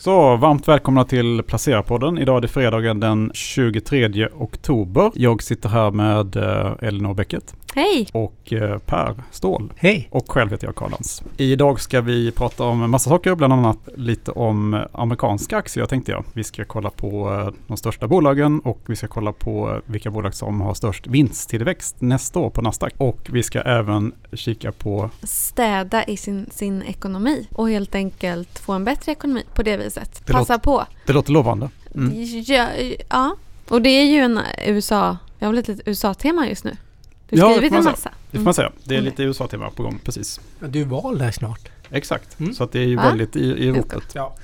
Så varmt välkomna till Placera-podden. Idag är det fredagen den 23 oktober. Jag sitter här med eh, Elinor Bäcket Hej! och eh, Per Ståhl. Hej! Och själv heter jag Karl Lantz. Idag ska vi prata om en massa saker, bland annat lite om amerikanska aktier tänkte jag. Vi ska kolla på eh, de största bolagen och vi ska kolla på eh, vilka bolag som har störst vinsttillväxt nästa år på Nasdaq. Och vi ska även kika på Städa i sin, sin ekonomi och helt enkelt få en bättre ekonomi på det viset. Det Passa på! det låter lovande. Mm. Ja, ja, och det är ju en USA... Jag har väl ett litet USA-tema just nu. Du Ja, har det skrivit får en man massa. Det får man säga. Det är lite USA-tema på gång, precis. Du är val där snart. Exakt, Mm. så att det är ju Va? väldigt i, i ropet. Ja.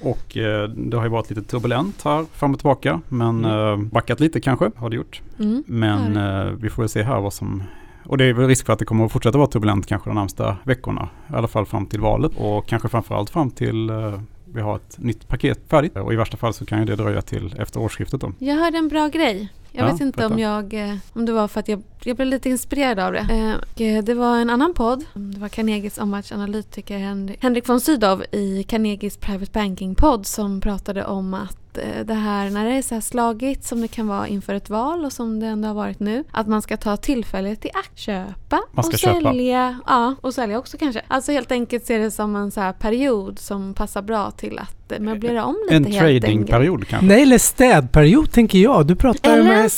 Och eh, det har ju varit lite turbulent här fram och tillbaka, men eh, backat lite kanske har det gjort. Mm. Men Ja, eh, vi får väl se här vad som... Och det är väl risk för att det kommer att fortsätta vara turbulent kanske de närmsta veckorna. I alla fall fram till valet och kanske framförallt fram till eh, vi har ett nytt paket färdigt. Och i värsta fall så kan ju det dröja till efter årsskiftet då. Jag hörde en bra grej. Jag Ja, vet inte berätta. om jag... eh, Om det var för att jag, jag blev lite inspirerad av det. Eh, och, eh, Det var en annan podd. Mm, Det var Carnegies omvärldsanalytiker Henrik, Henrik von Sydow i Carnegies Private Banking-podd som pratade om att eh, det här när det är så här slagigt som det kan vara inför ett val och som det ändå har varit nu. Att man ska ta tillfället i akt. Köpa Man ska och köpa. sälja. Ja, och sälja också kanske. Alltså helt enkelt se det som en så här period som passar bra till att eh, möblera om lite En helt enkelt. tradingperiod kanske. Nej, eller städperiod tänker jag. Du pratar Eller med... en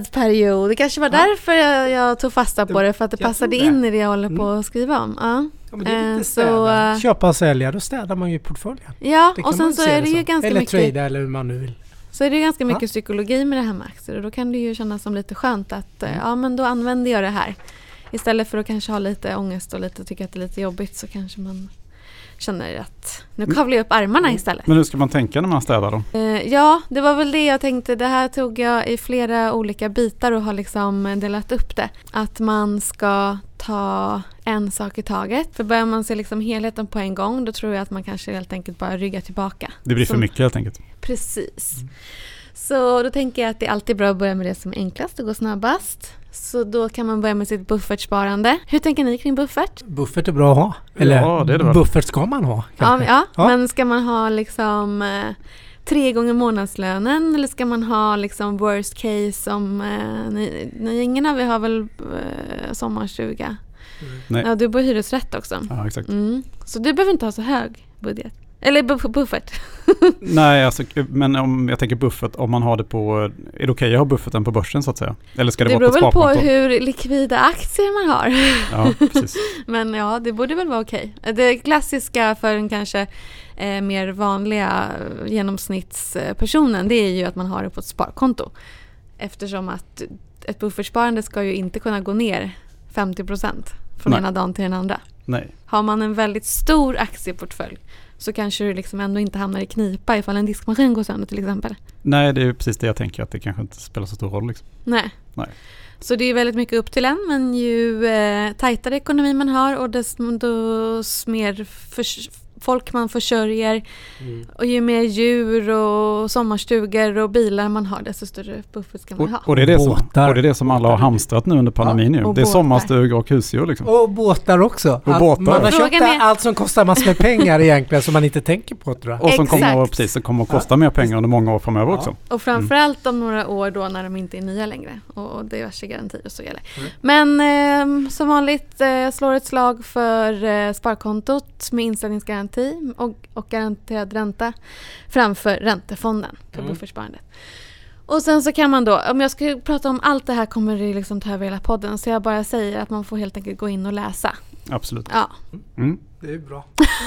städperiod. Det kanske var därför jag, jag tog fasta på det, för att det Jag passade tror det. in i det jag håller på att skriva om. Ja, Ja, men det är Eh, lite så, städa. eh, Köpa och sälja, då städar man ju portföljen. ja Det kan och man sen så se är det, ju som. ganska Eller mycket, trada eller hur man nu vill. så är det ju ganska Ja. mycket psykologi med det här med aktier och då kan det ju kännas som lite skönt att eh, Mm. ja, men då använder jag det här. Istället för att kanske ha lite ångest och lite tycka att det är lite jobbigt så kanske man känner att nu Mm. kavlar jag upp armarna istället. Men hur ska man tänka när man städar då? Eh, Ja, det var väl det jag tänkte. Det här tog jag i flera olika bitar och har liksom delat upp det. Att man ska ta en sak i taget. För börjar man se liksom helheten på en gång då tror jag att man kanske helt enkelt bara ryggar tillbaka. Det blir Så- för mycket helt enkelt. Precis. Så då tänker jag att det är alltid bra att börja med det som är enklast och går snabbast. Så då kan man börja med sitt buffertsparande. Hur tänker ni kring buffert? Buffert är bra att ha. Eller Ja, det är det väl. buffert ska man ha. Ja, Kanske. ja, Ja. men ska man ha liksom eh, tre gånger månadslönen eller ska man ha liksom worst case som eh, ni, ni, ingen av er har väl eh, sommarstuga? Nej. Ja, du bor i hyresrätt också. Ja, exakt. Mm. Så du behöver inte ha så hög budget. Eller buff- buffert. Nej, alltså, men om jag tänker buffert, om man har det på, är det okej att ha bufferten på börsen så att säga? Eller ska Det det, beror vara på väl ett på sparkonto? hur likvida aktier man har. Ja, precis. Men ja, det borde väl vara okej. Det klassiska för den kanske eh, mer vanliga eh, genomsnittspersonen det är ju att man har det på ett sparkonto. Eftersom att ett buffertsparande ska ju inte kunna gå ner 50 procent från Nej. ena dagen till den andra. Nej, Har man en väldigt stor aktieportfölj så kanske du liksom ändå inte hamnar i knipa ifall en diskmaskin går sönder till exempel. Nej, det är ju precis det jag tänker, att det kanske inte spelar så stor roll. Liksom. Nej. Nej. Så det är väldigt mycket upp till en men ju eh, tajtare ekonomi man har och desto desto mer förs- folk man försörjer Mm. och ju mer djur och sommarstugor och bilar man har desto större buffert ska Och, man ha. och, det är det som, och det Båtar. är det som alla har hamstrat nu under pandemin. Ja, ju. och det är båtar. sommarstugor och husdjur. Liksom. Och båtar också. Och Allt- båtar. Man har köpt Frågan är- allt som kostar massor med pengar egentligen som man inte tänker på tror jag. Och som Exakt. kommer, att- precis, som kommer att kosta mer pengar under många år framöver Ja. också. Och Mm. framförallt om några år då när de inte är nya längre och, och diverse garantier och så gäller. Mm. Men ehm, som vanligt eh, jag slår ett slag för eh, sparkontot med inställningsgaranti och, och garanterad ränta framför räntefonden för Mm. buffertsparandet. Och sen så kan man då, om jag ska prata om allt det här kommer det liksom ta över hela podden så jag bara säger att man får helt enkelt gå in och läsa. Absolut. Ja, Mm. Det är bra.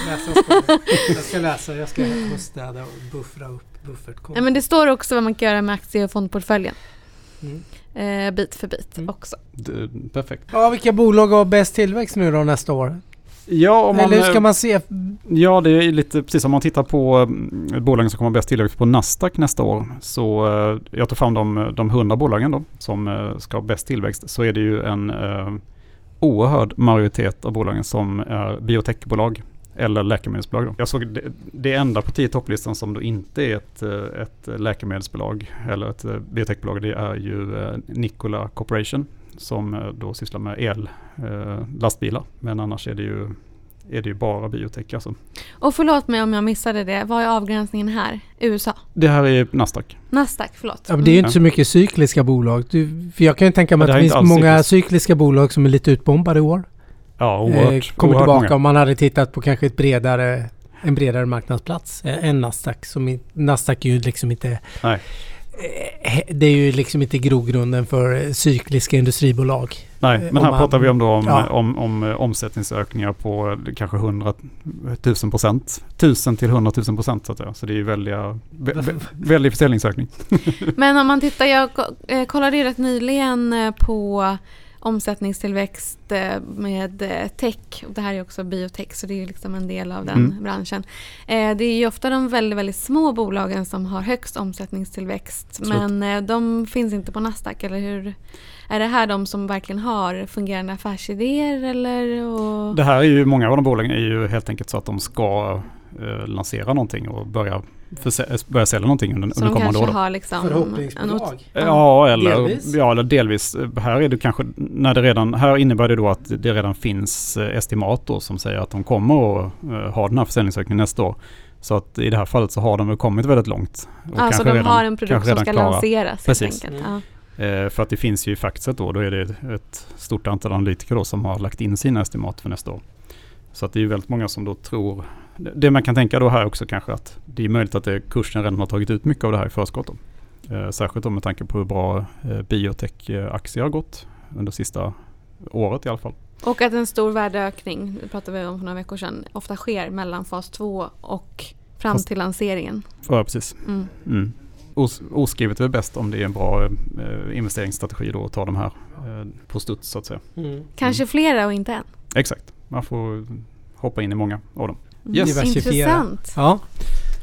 Läsa ska jag. jag ska läsa, jag ska städa och buffra upp buffertkontot. Nej, men det står också vad man kan göra med aktie och fondportföljen Mm. eh, bit för bit Mm. också. D- perfekt. Ja, vilka bolag har bäst tillväxt nu då nästa år? Ja, om man, Eller hur ska eh, man se? ja, det är lite precis om man tittar på eh, bolagen som kommer ha bäst tillväxt på Nasdaq nästa år. Så eh, jag tar fram de, de 100 bolagen då, som eh, ska ha bäst tillväxt. Så är det ju en eh, oerhörd majoritet av bolagen som är biotechbolag eller läkemedelsbolag. Då. Jag såg det, det enda på 10 topplistan som då inte är ett, eh, ett läkemedelsbolag eller ett eh, biotechbolag, det är ju eh, Nikola Corporation som eh, då sysslar med el, eh, lastbilar. Men annars är det ju är det ju bara biotech alltså. Och förlåt mig om jag missade det. Vad är avgränsningen här? USA? Det här är Nasdaq. Nasdaq, förlåt. Ja, men det är ju Mm. Ja. inte så mycket cykliska bolag. Du, för jag kan ju tänka Ja, mig det att det är inte finns alls många cykliska bolag som är lite utbombade i år. Ja, Eh, oerhört. kommer oerhört tillbaka många. om man hade tittat på kanske ett bredare, en bredare marknadsplats eh, än Nasdaq. Som i, Nasdaq är ju liksom inte... Nej. Eh, he- Det är ju liksom inte grogrunden för eh, cykliska industribolag. Nej, men om här man- pratar vi om, då om, Ja. om, om, eh, omsättningsökningar på eh, kanske 100 000 procent. 1000 till 100 000 procent så att säga. Så det är ju väldiga, vä- vä- väldig försäljningsökning. Mm. Men om man tittar, jag ko- eh, kollade ju rätt nyligen eh, på omsättningstillväxt eh, med eh, tech. Och Det här är också biotech så det är ju liksom en del av den Mm. branschen. Eh, Det är ju ofta de väldigt, väldigt små bolagen som har högst omsättningstillväxt. Absolut. Men eh, de finns inte på Nasdaq, eller hur? Är det här de som verkligen har fungerande affärsidéer eller? Och... Det här är ju, många av de bolagen är ju helt enkelt så att de ska eh, lansera någonting och börja, försä- börja sälja någonting under, under Som kommande kanske år. då. har liksom en ot- Förhoppningsbolag. Ja eller, Delvis. ja, eller delvis. Här är det kanske, när det redan, här innebär det då att det redan finns eh, estimat då som säger att de kommer att eh, ha den här försäljningsökningen nästa år. Så att i det här fallet så har de ju kommit väldigt långt. Och Alltså de har en produkt kanske som redan ska klara. lanseras helt Precis. enkelt. Mm. Ja. Eh, för att det finns ju i faxet då, då är det ett stort antal analytiker då som har lagt in sina estimat för nästa år. Så att det är ju väldigt många som då tror, det man kan tänka då här också kanske att det är möjligt att det, kursen redan har tagit ut mycket av det här i förskott. Då. Eh, särskilt då med tanke på hur bra eh, biotech-aktier har gått under sista året i alla fall. Och att en stor värdeökning, det pratade vi om för några veckor sedan, ofta sker mellan fas 2 och fram Fast- till lanseringen. Ja, precis. Mm. Mm. Os- oskrivet är väl bäst om det är en bra eh, investeringsstrategi då att ta de här eh, på studs så att säga. Mm. Kanske flera och inte en. Exakt, man får hoppa in i många av dem. Mm. Yes. Diversifiera. Intressant. Ja.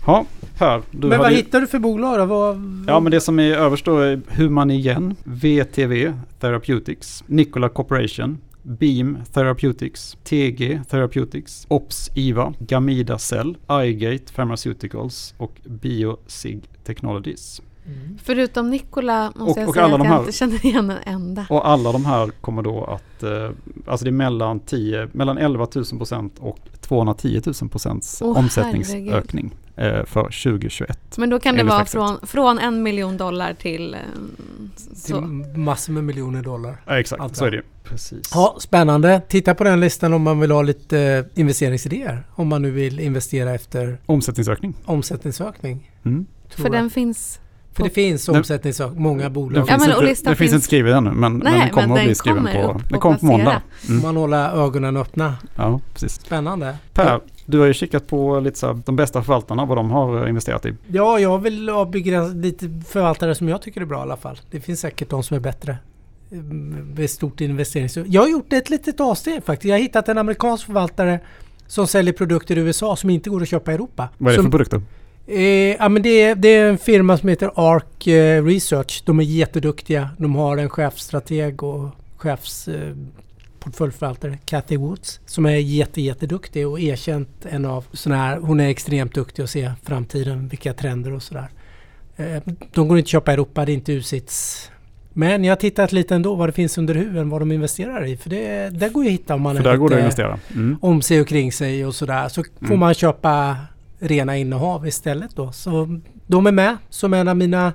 Ja, Per, du Men vad hade ju- hittar du för bolag då? Vad, Ja, men det som är överst då är Human igen, VTV Therapeutics, Nikola Corporation, Beam Therapeutics, TG Therapeutics, Ops IVA, Gamida Cell, iGate Pharmaceuticals och Biosig Technologies. Mm. Förutom Nikola måste Och- jag och säga alla att de jag här- inte känner igen en enda. Och alla de här kommer då att, eh, alltså det är mellan, 10, mellan 11 000 procent och 210 000 procents Åh, omsättningsökning eh, för 2021. Men då kan det Enligt vara faxet. från, från en miljon dollar till eh, Till så. massor med miljoner dollar. Ja, exakt, Allt så är bra. det ju. Precis. Ja, spännande. Titta på den listan om man vill ha lite eh, investeringsidéer. Om man nu vill investera efter Omsättningsökning. omsättningsökning. Mm. tror För jag. den finns. För det finns Den- omsättningsökning, många bolag. Den finns, men och inte, listan den finns finns- inte skriven ännu, men, Nej, men den kommer men att den bli skriven kommer på, upp den och kommer på passera. måndag. Mm. Man håller ögonen öppna. Ja, precis. Spännande. Eh, Per, du har ju kikat på lite så här, de bästa förvaltarna, vad de har investerat i. Ja, jag vill ha begräns- lite förvaltare som jag tycker är bra i alla fall. Det finns säkert de som är bättre. Mm, Med stort investerings... Jag har gjort ett litet avsteg faktiskt. Jag har hittat en amerikansk förvaltare som säljer produkter i USA som inte går att köpa i Europa. Vad är det för som produkter? Eh, ja, men det, är, det är en firma som heter ARK eh, Research. De är jätteduktiga. De har en chefsstrateg och chefs eh, portföljförvaltare, Cathy Woods, som är jätte, jätteduktig och erkänt en av sådana här. Hon är extremt duktig att se framtiden, vilka trender och sådär. Eh, de går inte att köpa i Europa, det är inte usits. Men jag har tittat lite ändå vad det finns under huven, vad de investerar i. För det där går ju att hitta om man För är där går det att lite- investera. Mm. om sig och kring sig och sådär. Så får Mm. man köpa rena innehav istället då. Så de är med som en av mina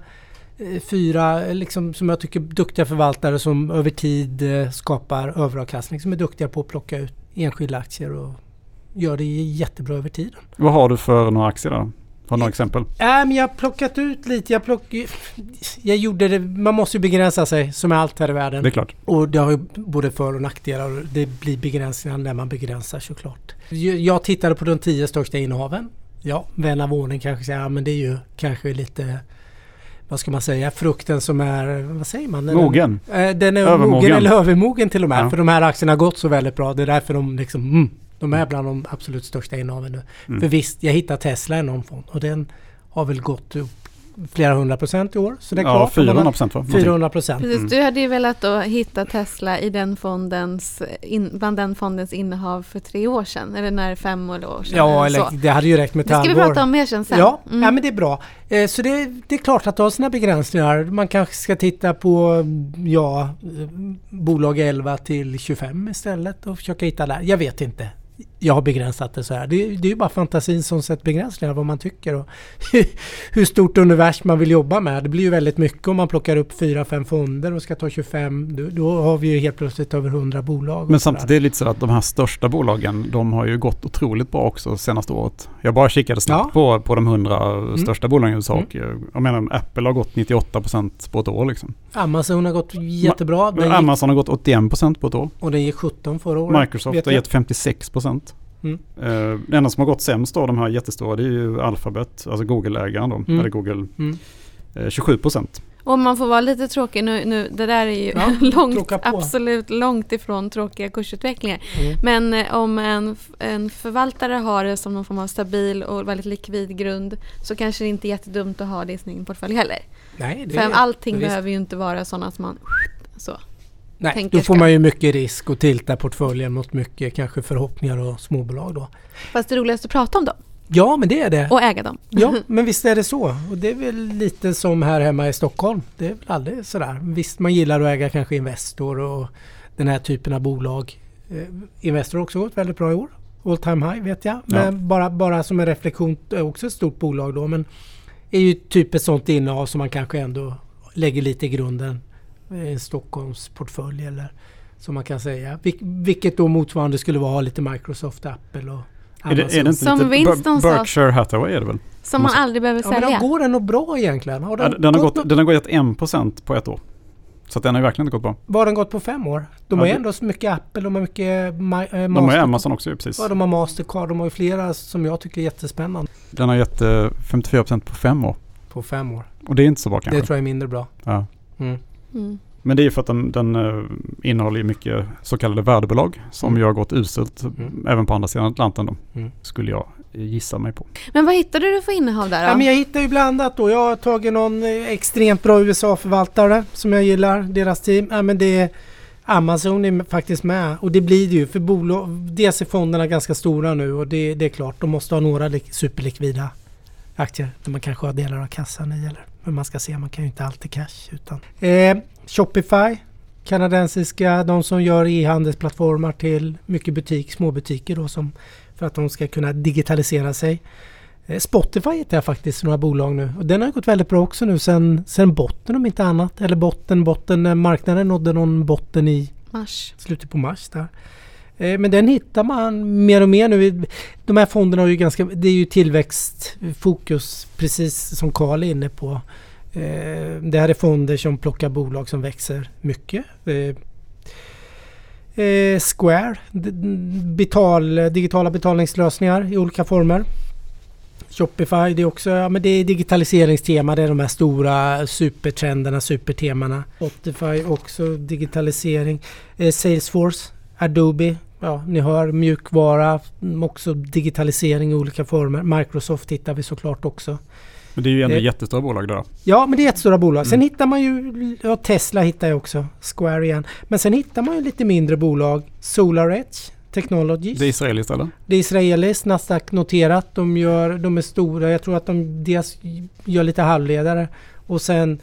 eh, fyra, eh, liksom, som jag tycker, duktiga förvaltare som över tid eh, skapar överavkastning. Som är duktiga på att plocka ut enskilda aktier och gör det jättebra över tid. Vad har du för några aktier där? Har du några exempel? Nej, men jag har plockat ut lite. Jag, plock... jag gjorde det. Man måste ju begränsa sig som är allt här i världen. Det är klart. Och det har ju både för och nackdelar. och Det blir begränsningar när man begränsar såklart. Jag jag tittade på de tio största innehaven. Ja, vän av ordning kanske säger ja, men det är ju kanske lite vad ska man säga, frukten som är, vad säger man? När den- Mogen. Eh, Den är Övermogen. mogen eller övermogen till och med. Ja. För de här aktierna har gått så väldigt bra. Det är därför de liksom, mm, de är bland de absolut största innehaven nu. Mm. För visst, jag hittade Tesla i någon fond och den har väl gått upp flera hundra procent i år. Så det är Ja, klart. 400 procent va? Någonting. 400 procent. Precis, Mm. Du hade ju velat då hitta Tesla i den fondens, in, bland den fondens innehav för tre år sedan. Eller när fem år sedan. Ja, eller så. eller det hade ju räckt med ett Det ska vi halvår. prata om mer sen. sen. Ja, Mm. ja, men det är bra. Eh, Så det, det är klart att det har sina begränsningar. Man kanske ska titta på ja, eh, bolag 11 till 25 istället och försöka hitta där. Jag vet inte. jag har begränsat det så här. Det, det är ju bara fantasin som sätter begränsningar vad man tycker och hur stort univers man vill jobba med. Det blir ju väldigt mycket om man plockar upp 4-5 fonder och ska ta 25. Då, då har vi ju helt plötsligt över 100 bolag. Men samtidigt är det lite så att de här största bolagen, de har ju gått otroligt bra också senaste året. Jag bara kikade snabbt Ja. på, på de 100 största bolagen i USA. Mm. och jag- Jag menar, Apple har gått 98% på ett år liksom. Amazon har gått jättebra. Den gick, Amazon har gått 81% på ett år. och den gick 17 förra året. Microsoft vet har jag. gett 56%. Mm. Eh, Det enda som har gått sämst av de här jättestora det är ju Alphabet, alltså Google-ägaren då, Mm. eller Google, Mm. eh, 27%. Och om man får vara lite tråkig nu, nu det där är ju Ja, långt, tråka på. absolut långt ifrån tråkiga kursutvecklingar. Mm. Men eh, om en, f- en förvaltare har det som någon form av stabil och väldigt likvid grund så kanske det inte är jättedumt att ha det i sin egen portfölj heller. Nej, det För är- allting visst. behöver ju inte vara sådana som man... Så. Nej, tänker då får ska. man ju mycket risk och tilta portföljen mot mycket kanske förhoppningar och småbolag då. Fast det roligaste är att prata om dem Ja, men det är det. och äga dem. Ja, men visst är det så. Och det är väl lite som här hemma i Stockholm. Det är väl aldrig sådär. Visst, man gillar att äga kanske Investor och den här typen av bolag. Eh, Investor har också gått väldigt bra i år. All time high vet jag. Men Ja. bara, bara som en reflektion, det är också ett stort bolag då. Men är ju typ ett sånt innehav som man kanske ändå lägger lite i grunden. eh, En Stockholms portfölj eller som man kan säga. Vil- vilket då motsvarande skulle vara lite Microsoft, Apple och Är det, är det inte Som lite Winston Bir- sa. Berkshire Hathaway är det väl? Som man Måste- aldrig behöver Ja, men sälja. går den nog bra egentligen? Har Ja, den, den, har gått, gått, den har gått 1% på ett år. Så att den har ju verkligen inte gått bra. Var den gått på fem år? De Ja, har ju det- ändå så mycket Apple, de har mycket Ma- eh, De har ju Mastercard. Amazon också ju, precis. Ja, de har Mastercard, de har ju flera som jag tycker är jättespännande. Den har gett eh, 54% på fem år. På fem år. Och det är inte så bra kanske. Det tror jag är mindre bra. Ja. Mm. Mm. Men det är ju för att den, den eh, innehåller ju mycket så kallade värdebolag som Mm. ju har gått uselt Mm. även på andra sidan Atlanten då. Mm. Skulle jag gissa mig på. Men vad hittade du för innehav där då? Ja, men jag hittar ju blandat då. Jag har tagit någon eh, extremt bra USA-förvaltare som jag gillar, deras team. Ja, men det är Amazon är faktiskt med och det blir det ju för bolag. Dels är fonderna ganska stora nu och det, det är klart, de måste ha några lik- superlikvida aktier där man kanske har delar av kassan i eller hur man ska se. Man kan ju inte alltid cash utan. Eh, Shopify, kanadensiska, de som gör e-handelsplattformar till mycket butik, småbutiker då som för att de ska kunna digitalisera sig. Eh, Spotify heter jag faktiskt några bolag nu och den har gått väldigt bra också nu sen, sen botten om inte annat. Eller botten, botten, eh, marknaden nådde någon botten i Mars. slutet på mars där. Eh, Men den hittar man mer och mer nu. De här fonderna har ju ganska, det är ju tillväxtfokus precis som Karl är inne på. Eh, Det här är fonder som plockar bolag som växer mycket. Eh, eh, Square, d- d- betal, digitala betalningslösningar i olika former. Shopify, det är också ja, men det är digitaliseringstema. Det är de här stora supertrenderna, supertemana. Spotify också digitalisering. Eh, Salesforce, Adobe. Ja, ni hör mjukvara, mm, också digitalisering i olika former. Microsoft hittar vi såklart också. Men det är ju ändå Det- jättestora bolag det där. Ja, men det är ett stora bolag. Mm. Sen hittar man ju, ja, Tesla hittar jag också, Square igen. Men sen hittar man ju lite mindre bolag. SolarEdge Technologies. Det är israeliskt eller? Det är israeliskt, Nasdaq noterat. De, gör, de är stora. Jag tror att de dels gör lite halvledare och sen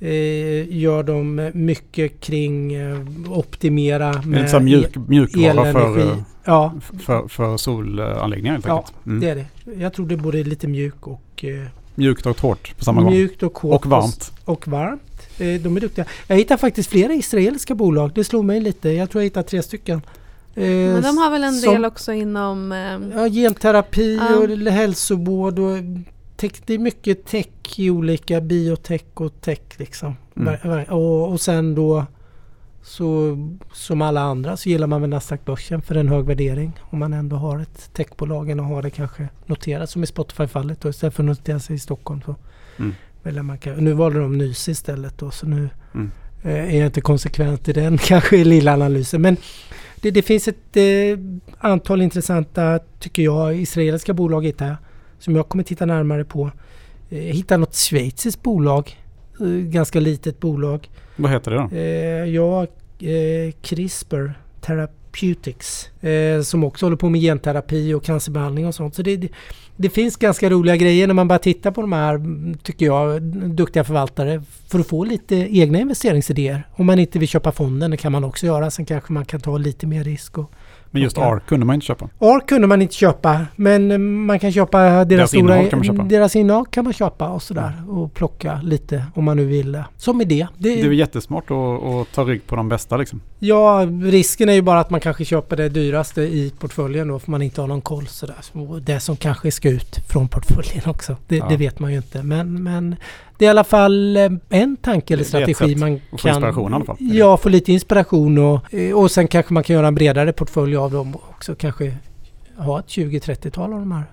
eh, gör de mycket kring eh, optimera Det är med inte så här mjuk, mjukvara för, elenergi. eh, Ja, för, för solanläggningar helt Ja, enkelt. Mm. det är det. Jag tror det är både lite mjuk och eh, Mjukt och hårt på samma gång. mjukt och hårt Och varmt. och varmt. Eh, De är duktiga. Jag hittar faktiskt flera israeliska bolag. Det slog mig lite. Jag tror jag hittar tre stycken. Eh, Men de har väl en som- del också inom... ehm, Ja, genterapi Ja. och l- hälsovård och tech, det är mycket tech i olika biotech och tech liksom. Mm. Ver- ver- Och, och sen då så som alla andra så gillar man väl Nasdaq-börsen för en hög värdering. Om man ändå har ett techbolag och har det kanske noterat som i Spotify-fallet då istället för att notera sig i Stockholm så Mm. väljer man kan, Nu valde de Nys istället då så nu Mm. eh, är jag inte konsekvent i den kanske i lilla analysen. Men det, det finns ett eh, antal intressanta, tycker jag, israeliska bolag hittar jag. Som jag kommer titta närmare på. Eh, Jag hittar något schweiziskt bolag. eh, Ganska litet bolag. Vad heter det då? Eh, Jag, eh, CRISPR Therapeutics. Eh, som också håller på med genterapi och cancerbehandling och sånt. Så det, det, det finns ganska roliga grejer när man bara tittar på de här, mm, tycker jag, duktiga förvaltare. För att få lite egna investeringsidéer. Om man inte vill köpa fonden, det kan man också göra. Sen kanske man kan ta lite mer risk och Men just Och, eh, ARK kunde man inte köpa. ARK kunde man inte köpa, men eh, man kan köpa deras, Deras stora, innehåll kan man köpa. Deras innehåll kan man köpa och sådär. Och plocka lite om man nu vill. det. Som idé. Det är ju jättesmart att, att ta rygg på de bästa liksom. Ja, risken är ju bara att man kanske köper det dyraste i portföljen då för man inte har någon koll sådär. Och Det som kanske ska ut från portföljen också. Det, Ja. det vet man ju inte. Men, men det är i alla fall eh, en tanke eller Det- det är ett strategi sätt man att få kan... inspiration i alla fall. Ja, få lite inspiration och, eh, och sen kanske man kan göra en bredare portfölj av dem också. Kanske ha ett 20-30-tal av de här.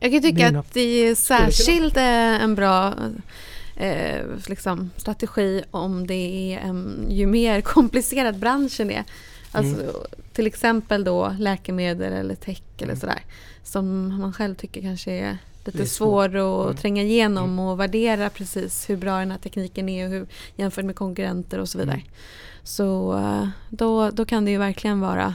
Jag kan tycka Mina- att det är särskilt eh, en bra eh, liksom, strategi om det är en, ju mer komplicerad branschen är. Alltså, Mm. Till exempel då läkemedel eller tech eller sådär. Som man själv tycker kanske är lite Mm. Det är svårt. svår att Mm. tränga igenom och värdera precis hur bra den här tekniken är och hur, jämfört med konkurrenter och så vidare. Så eh, då, då kan det ju verkligen vara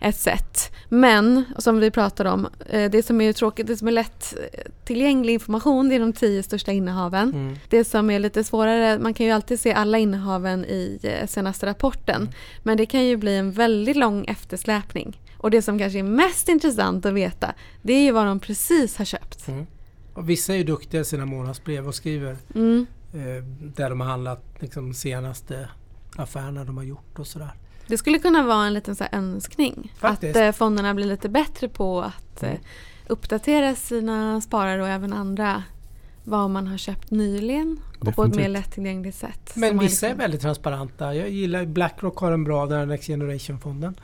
ett sätt. Men som vi pratade om, eh, det som är tråkigt, det som är lätt eh, tillgänglig information det är de tio största innehaven. Mm. Det som är lite svårare, man kan ju alltid se alla innehaven i eh, senaste rapporten. Men det kan ju bli en väldigt lång eftersläpning. Och det som kanske är mest intressant att veta, det är ju vad de precis har köpt. Mm. Och vissa är ju duktiga i sina månadsbrev och skriver Mm. eh, där de har handlat liksom, senaste affärerna de har gjort och sådär. Det skulle kunna vara en liten så här önskning. Faktiskt. Att eh, fonderna blir lite bättre på att eh, uppdatera sina sparare och även andra vad man har köpt nyligen och på ett mer Definitivt. lättillgängligt sätt. Så Men man vissa är liksom- väldigt transparenta. Jag gillar Blackrock har en bra där, Next Generation-fonden.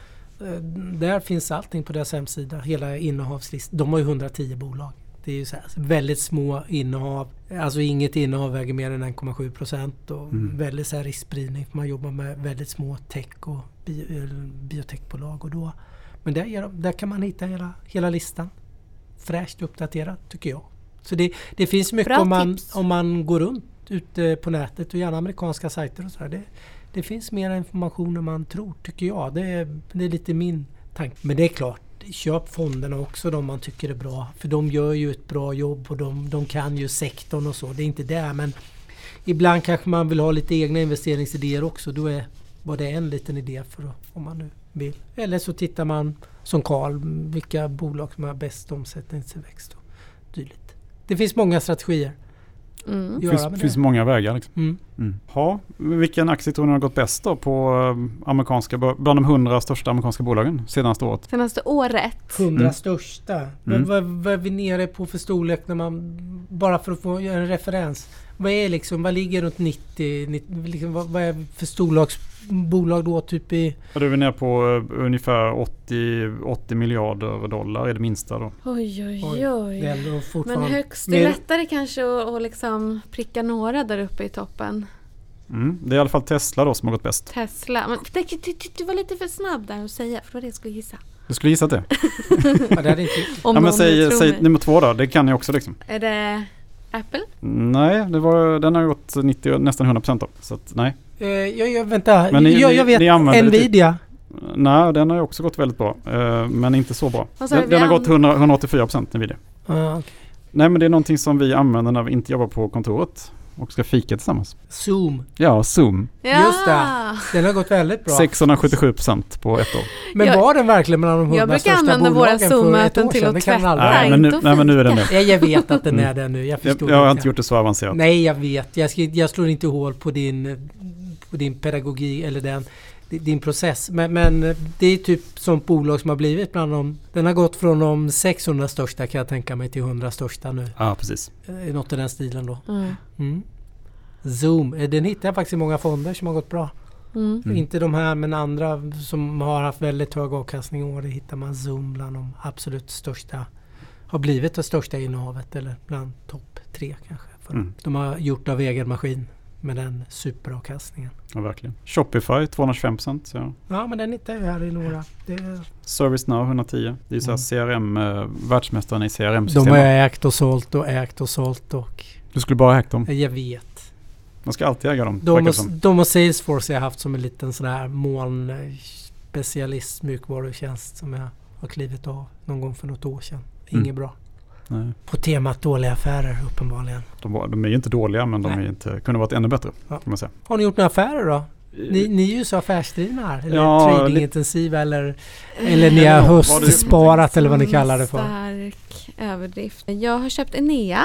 Eh, Där finns allting på deras hemsida, hela innehavslistan. De har ju 110 bolag. Det är ju så här, väldigt små innehav. Alltså inget innehav väger mer än 1,7 procent. Och Mm. Väldigt så här riskspridning. för Man jobbar med väldigt små tech och bio, eller biotechbolag. Och då. Men där, är de- där kan man hitta hela, hela listan. Fräscht uppdaterat tycker jag. Så det, det finns mycket Bra om man, tips. om man går runt ute på nätet och gärna amerikanska sajter och sådär. Det, det finns mer information än man tror tycker jag. Det, är- det är lite min tanke. Men det är klart, köp fonderna också de man tycker är bra. För de gör ju ett bra jobb och de, de kan ju sektorn och så. Det är inte det. Men ibland kanske man vill ha lite egna investeringsidéer också. Då är, var det en liten idé för att- om man nu vill. Eller så tittar man som Karl, vilka bolag som har bäst omsättningstillväxt och dylikt. Det finns många strategier Mm. att Det göra finns, med finns det. många vägar liksom. Mm. Ja, vilken aktie tror ni har gått bäst då på eh, amerikanska, bland de 100 största amerikanska bolagen senaste året? Senaste året. 100 Mm. största. Mm. Vad, vad, vad är vi nere på för storlek när man... Bara för att få göra en referens. Vad är liksom, vad ligger runt 90? 90 liksom, vad, vad är för storlags, bolag då? Typ i... Ja, Då är vi nere på eh, ungefär 80, 80 miljarder dollar är det minsta då. Oj, oj, Oj, oj. Det är ändå Men fortfarande... högst, det är Mer- lättare kanske att, att liksom pricka några där uppe i toppen. Mm. Det är i alla fall Tesla då som har gått bäst. Tesla. Men det, du, du, du var lite för snabb där att säga, för det var det jag skulle gissa. Du skulle gissa det? Ja, det hade inte... Om ja, men någon nu säg, tror säg mig. nummer två då, det kan jag också liksom. Är det Apple? Nej, det var, den har gått 90, nästan 100% då. Så att, nej. Eh, jag, jag, vänta, Men ni- jag, ni- jag vet. ni använder det till- Nvidia. Nej, den har ju också gått väldigt bra. eh, Men inte så bra. Vad sa du, Den, vi den har an- gått 100, 184% Nvidia. Ah, okej. Nej men det är någonting som vi använder när vi inte jobbar på kontoret och ska fika tillsammans. Zoom. Ja, Zoom. Just det. Den har gått väldigt bra. 677% på ett år. Men Jag- var den verkligen bland de 100 Jag brukar största använda bolagen våra för ett år Zoom-möten sedan? till Det att kan man tvätta, aldrig- Nej, men nu- inte att nej, men nu är det fika. Ja, jag vet att den är det nu. Jag Mm. Jag, förstår jag har det. inte gjort det så avancerat. Nej, jag vet. Jag, ska, jag slår inte hål på din, på din pedagogik eller den, din process. Men, men det är typ sånt bolag som har blivit bland de... Den har gått från de 600 största kan jag tänka mig till 100 största nu. Ja, precis. Eh, Något i den stilen då. Mm. Mm. Zoom, eh, den hittar jag faktiskt i många fonder som har gått bra. Mm. Mm. Inte de här men andra som har haft väldigt hög avkastning i år. Det hittar man Zoom bland de absolut största. Har blivit det största innehavet eller bland topp tre kanske. För Mm. De har gjort av egen maskin med den superavkastningen. Ja, verkligen. Shopify 225%. Så ja. Ja men den hittar jag här i några. Det, ServiceNow 110. Det är ju så här CRM, eh, världsmästaren i Mm. de CRM-system. har ägt och sålt och ägt och sålt och Du skulle bara ha ägt dem. jag vet. Man ska alltid äga dem. De verkar det och, som. de och Salesforce har jag haft som en liten sån här molnspecialist mjukvarutjänst som jag har klivit av någon gång för något år sedan. Inget Mm. bra. Nej. På temat dåliga affärer uppenbarligen. De, var, de är ju inte dåliga men de Nej. är inte, kunde varit ännu bättre. Ja. Kan man säga. Eh, Har ni gjort några affärer då? Ni, ni är ju så affärsdrivna här. Eller Ja, tradingintensiva eller, eller Mm. ni har höstsparat eller vad ni kallar det för. Stark överdrift. Jag har köpt Enea.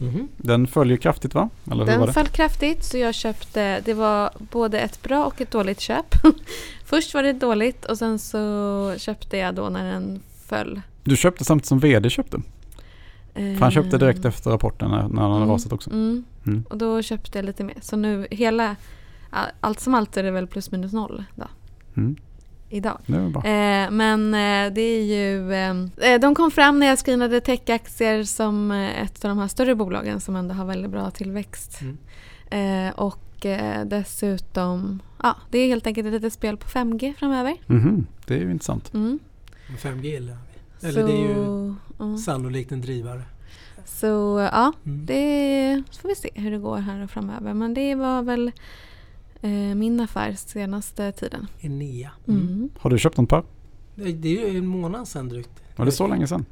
Mhm. Den följer kraftigt va? Eller hur var Den det? föll kraftigt så jag köpte, det var både ett bra och ett dåligt köp. Först var det dåligt och sen så köpte jag då när den föll. Du köpte samtidigt som vd köpte. För han köpte Eh, direkt efter rapporten när, när han hade Mm. rasat också. Mm. Mm. Och då köpte jag lite mer. Så nu hela, a- allt som allt är det väl plus minus noll då, Mm. idag. Det var bra. Eh, men eh, det är ju... Eh, de kom fram när jag screenade techaktier som eh, ett av de här större bolagen som ändå har väldigt bra tillväxt. Mm. Eh, och eh, dessutom... Ja, det är helt enkelt ett litet spel på 5G framöver. Mhm, Det är ju intressant. Mm. 5G gillar vi. Eller det är ju Så, ja. sannolikt en drivare. Så ja, Mm. det så får vi se hur det går här och framöver. Men det var väl eh, min affär senaste tiden. Enea. Mm. Har du köpt något Per? Det det är ju en månad sedan drygt. Var det så länge sedan?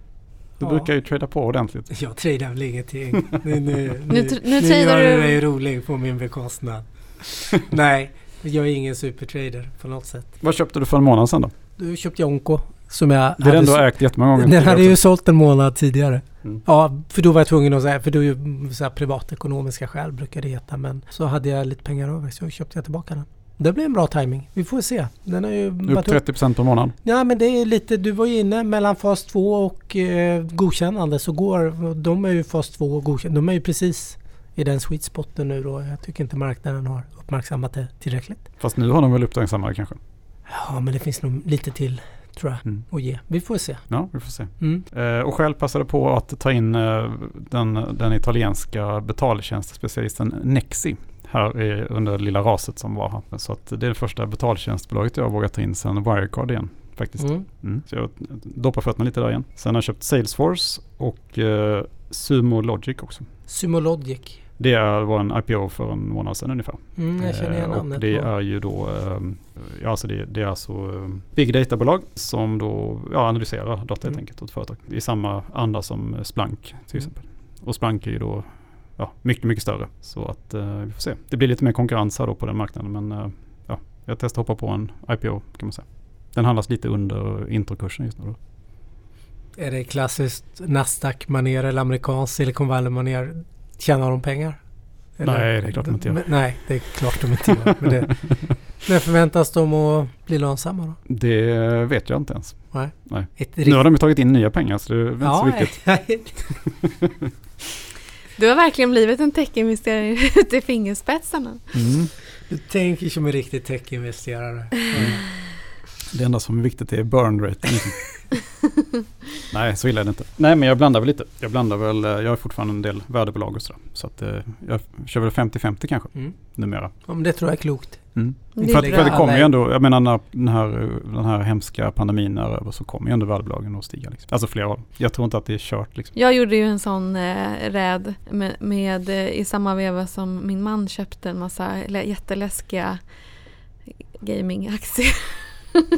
Du Ja. brukar ju trada på ordentligt. Jag tradar väl ingenting. Nu, nu, Nu nu, tr- nu nu tradar gör du du- dig rolig på min bekostnad. Nej, jag är ingen supertrader på något sätt. Vad köpte du för en månad sedan då? Då köpte jag Onko. Som jag Det är den du så- har ägt jättemånga gånger. Den hade ju sålt en månad tidigare. Mm. Ja, för då var jag tvungen att säga, för då är ju så här privatekonomiska skäl brukar det heta. Men så hade jag lite pengar över så köpte jag tillbaka den. Det blev en bra timing. Vi får se. Den har ju Upp 30% per månad. Ja men det är lite, du var ju inne mellan fas 2 och eh, godkännande så går, de är ju fas 2 och godkännande, de är ju precis i den sweet spoten nu då. Jag tycker inte marknaden har uppmärksammat det tillräckligt. Fast nu har de väl uppmärksammat det kanske. Ja men det finns nog lite till tror jag Mm. att ge. Vi får se. Ja, vi får se. Mm. Eh, Och själv passade på att ta in eh, den, den italienska betaltjänstspecialisten Nexi här i, under lilla raset som var här. Så att det är det första betaltjänstbolaget jag har vågat ta in sedan Wirecard igen faktiskt. Mm. Mm. Så jag doppar fötterna lite där igen. Sen har jag köpt Salesforce och eh, Sumo Logic också. Sumologic. Det är- var en IPO för en månad sedan ungefär. Mm, jag känner igen Eh, namnet. Och det på- är ju då, eh, ja, alltså det, det är alltså eh, big data-bolag som då ja, analyserar data helt Mm. enkelt åt företag. I samma anda som eh, Splunk till Mm. exempel. Och Splunk är ju då ja, mycket, mycket större. Så att eh, vi får se. Det blir lite mer konkurrens här då på den marknaden. Men eh, ja, jag testar hoppa på en IPO kan man säga. Den handlas lite under introkursen just nu. Då. Är det klassiskt Nasdaq-manér eller amerikansk Silicon Valley-manér? Tjänar de pengar? Nej, det är klart de inte gör. Men- Nej, det är klart de inte gör. Men det, när förväntas de att bli lönsamma då? Det vet jag inte ens. Ett Nu har de ju tagit in nya pengar så det är inte så Ja, mycket. Du har verkligen blivit en techinvesterare ut i fingerspetsarna. Mm. du tänker som en riktig techinvesterare. Mm. Det enda som är viktigt är burn rate. Nej, så illa är det inte. Nej, men jag blandar väl lite. Jag blandar väl, eh, jag har fortfarande en del värdebolag och sådär. Så att eh, jag kör väl 50-50 kanske Mm. numera. Ja, men det tror jag är klokt. För, att, för att det Alla kommer ju är- ändå, jag menar när den här, den här hemska pandemin är över så kommer ju ändå värdebolagen att stiga. Liksom. Alltså flera av dem. Jag tror inte att det är kört liksom. Jag gjorde ju en sån eh, räd med, med, eh, i samma veva som min man köpte en massa lä- jätteläskiga gamingaktier.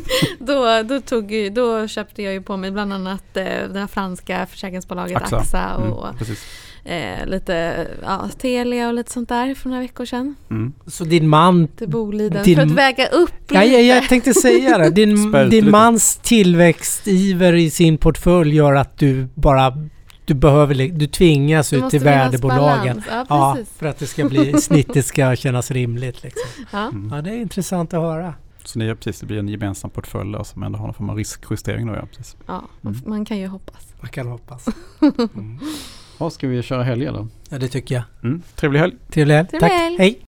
då, då, tog ju, då köpte jag ju på mig bland annat eh, det här franska försäkringsbolaget Axa. Axa, Mm, och precis. eh, lite ja, Telia och lite sånt där för några veckor sedan. Mm. Så din man... Till Boliden Din- för att väga upp Mm. Ja, jag, jag tänkte säga det. Din, Spär ut din lite. mans tillväxtiver i sin portfölj gör att du bara... Du behöver... li- Du tvingas Det ut måste till finnas värdebolagen. balans. Ja, Ja, precis. för att det ska bli... Snittet ska kännas rimligt liksom. Ja. Mm. Ja, det är intressant att höra. Så det, är precis, det blir en gemensam portfölj där som ändå har någon form av riskjustering då ja. Precis. Ja, Mm. man kan ju hoppas. Man kan hoppas. Ja, ska vi köra helg eller? Ja, det tycker jag. Mm. Trevlig helg. Trevlig helg. Trevlig Tack. helg. Hej.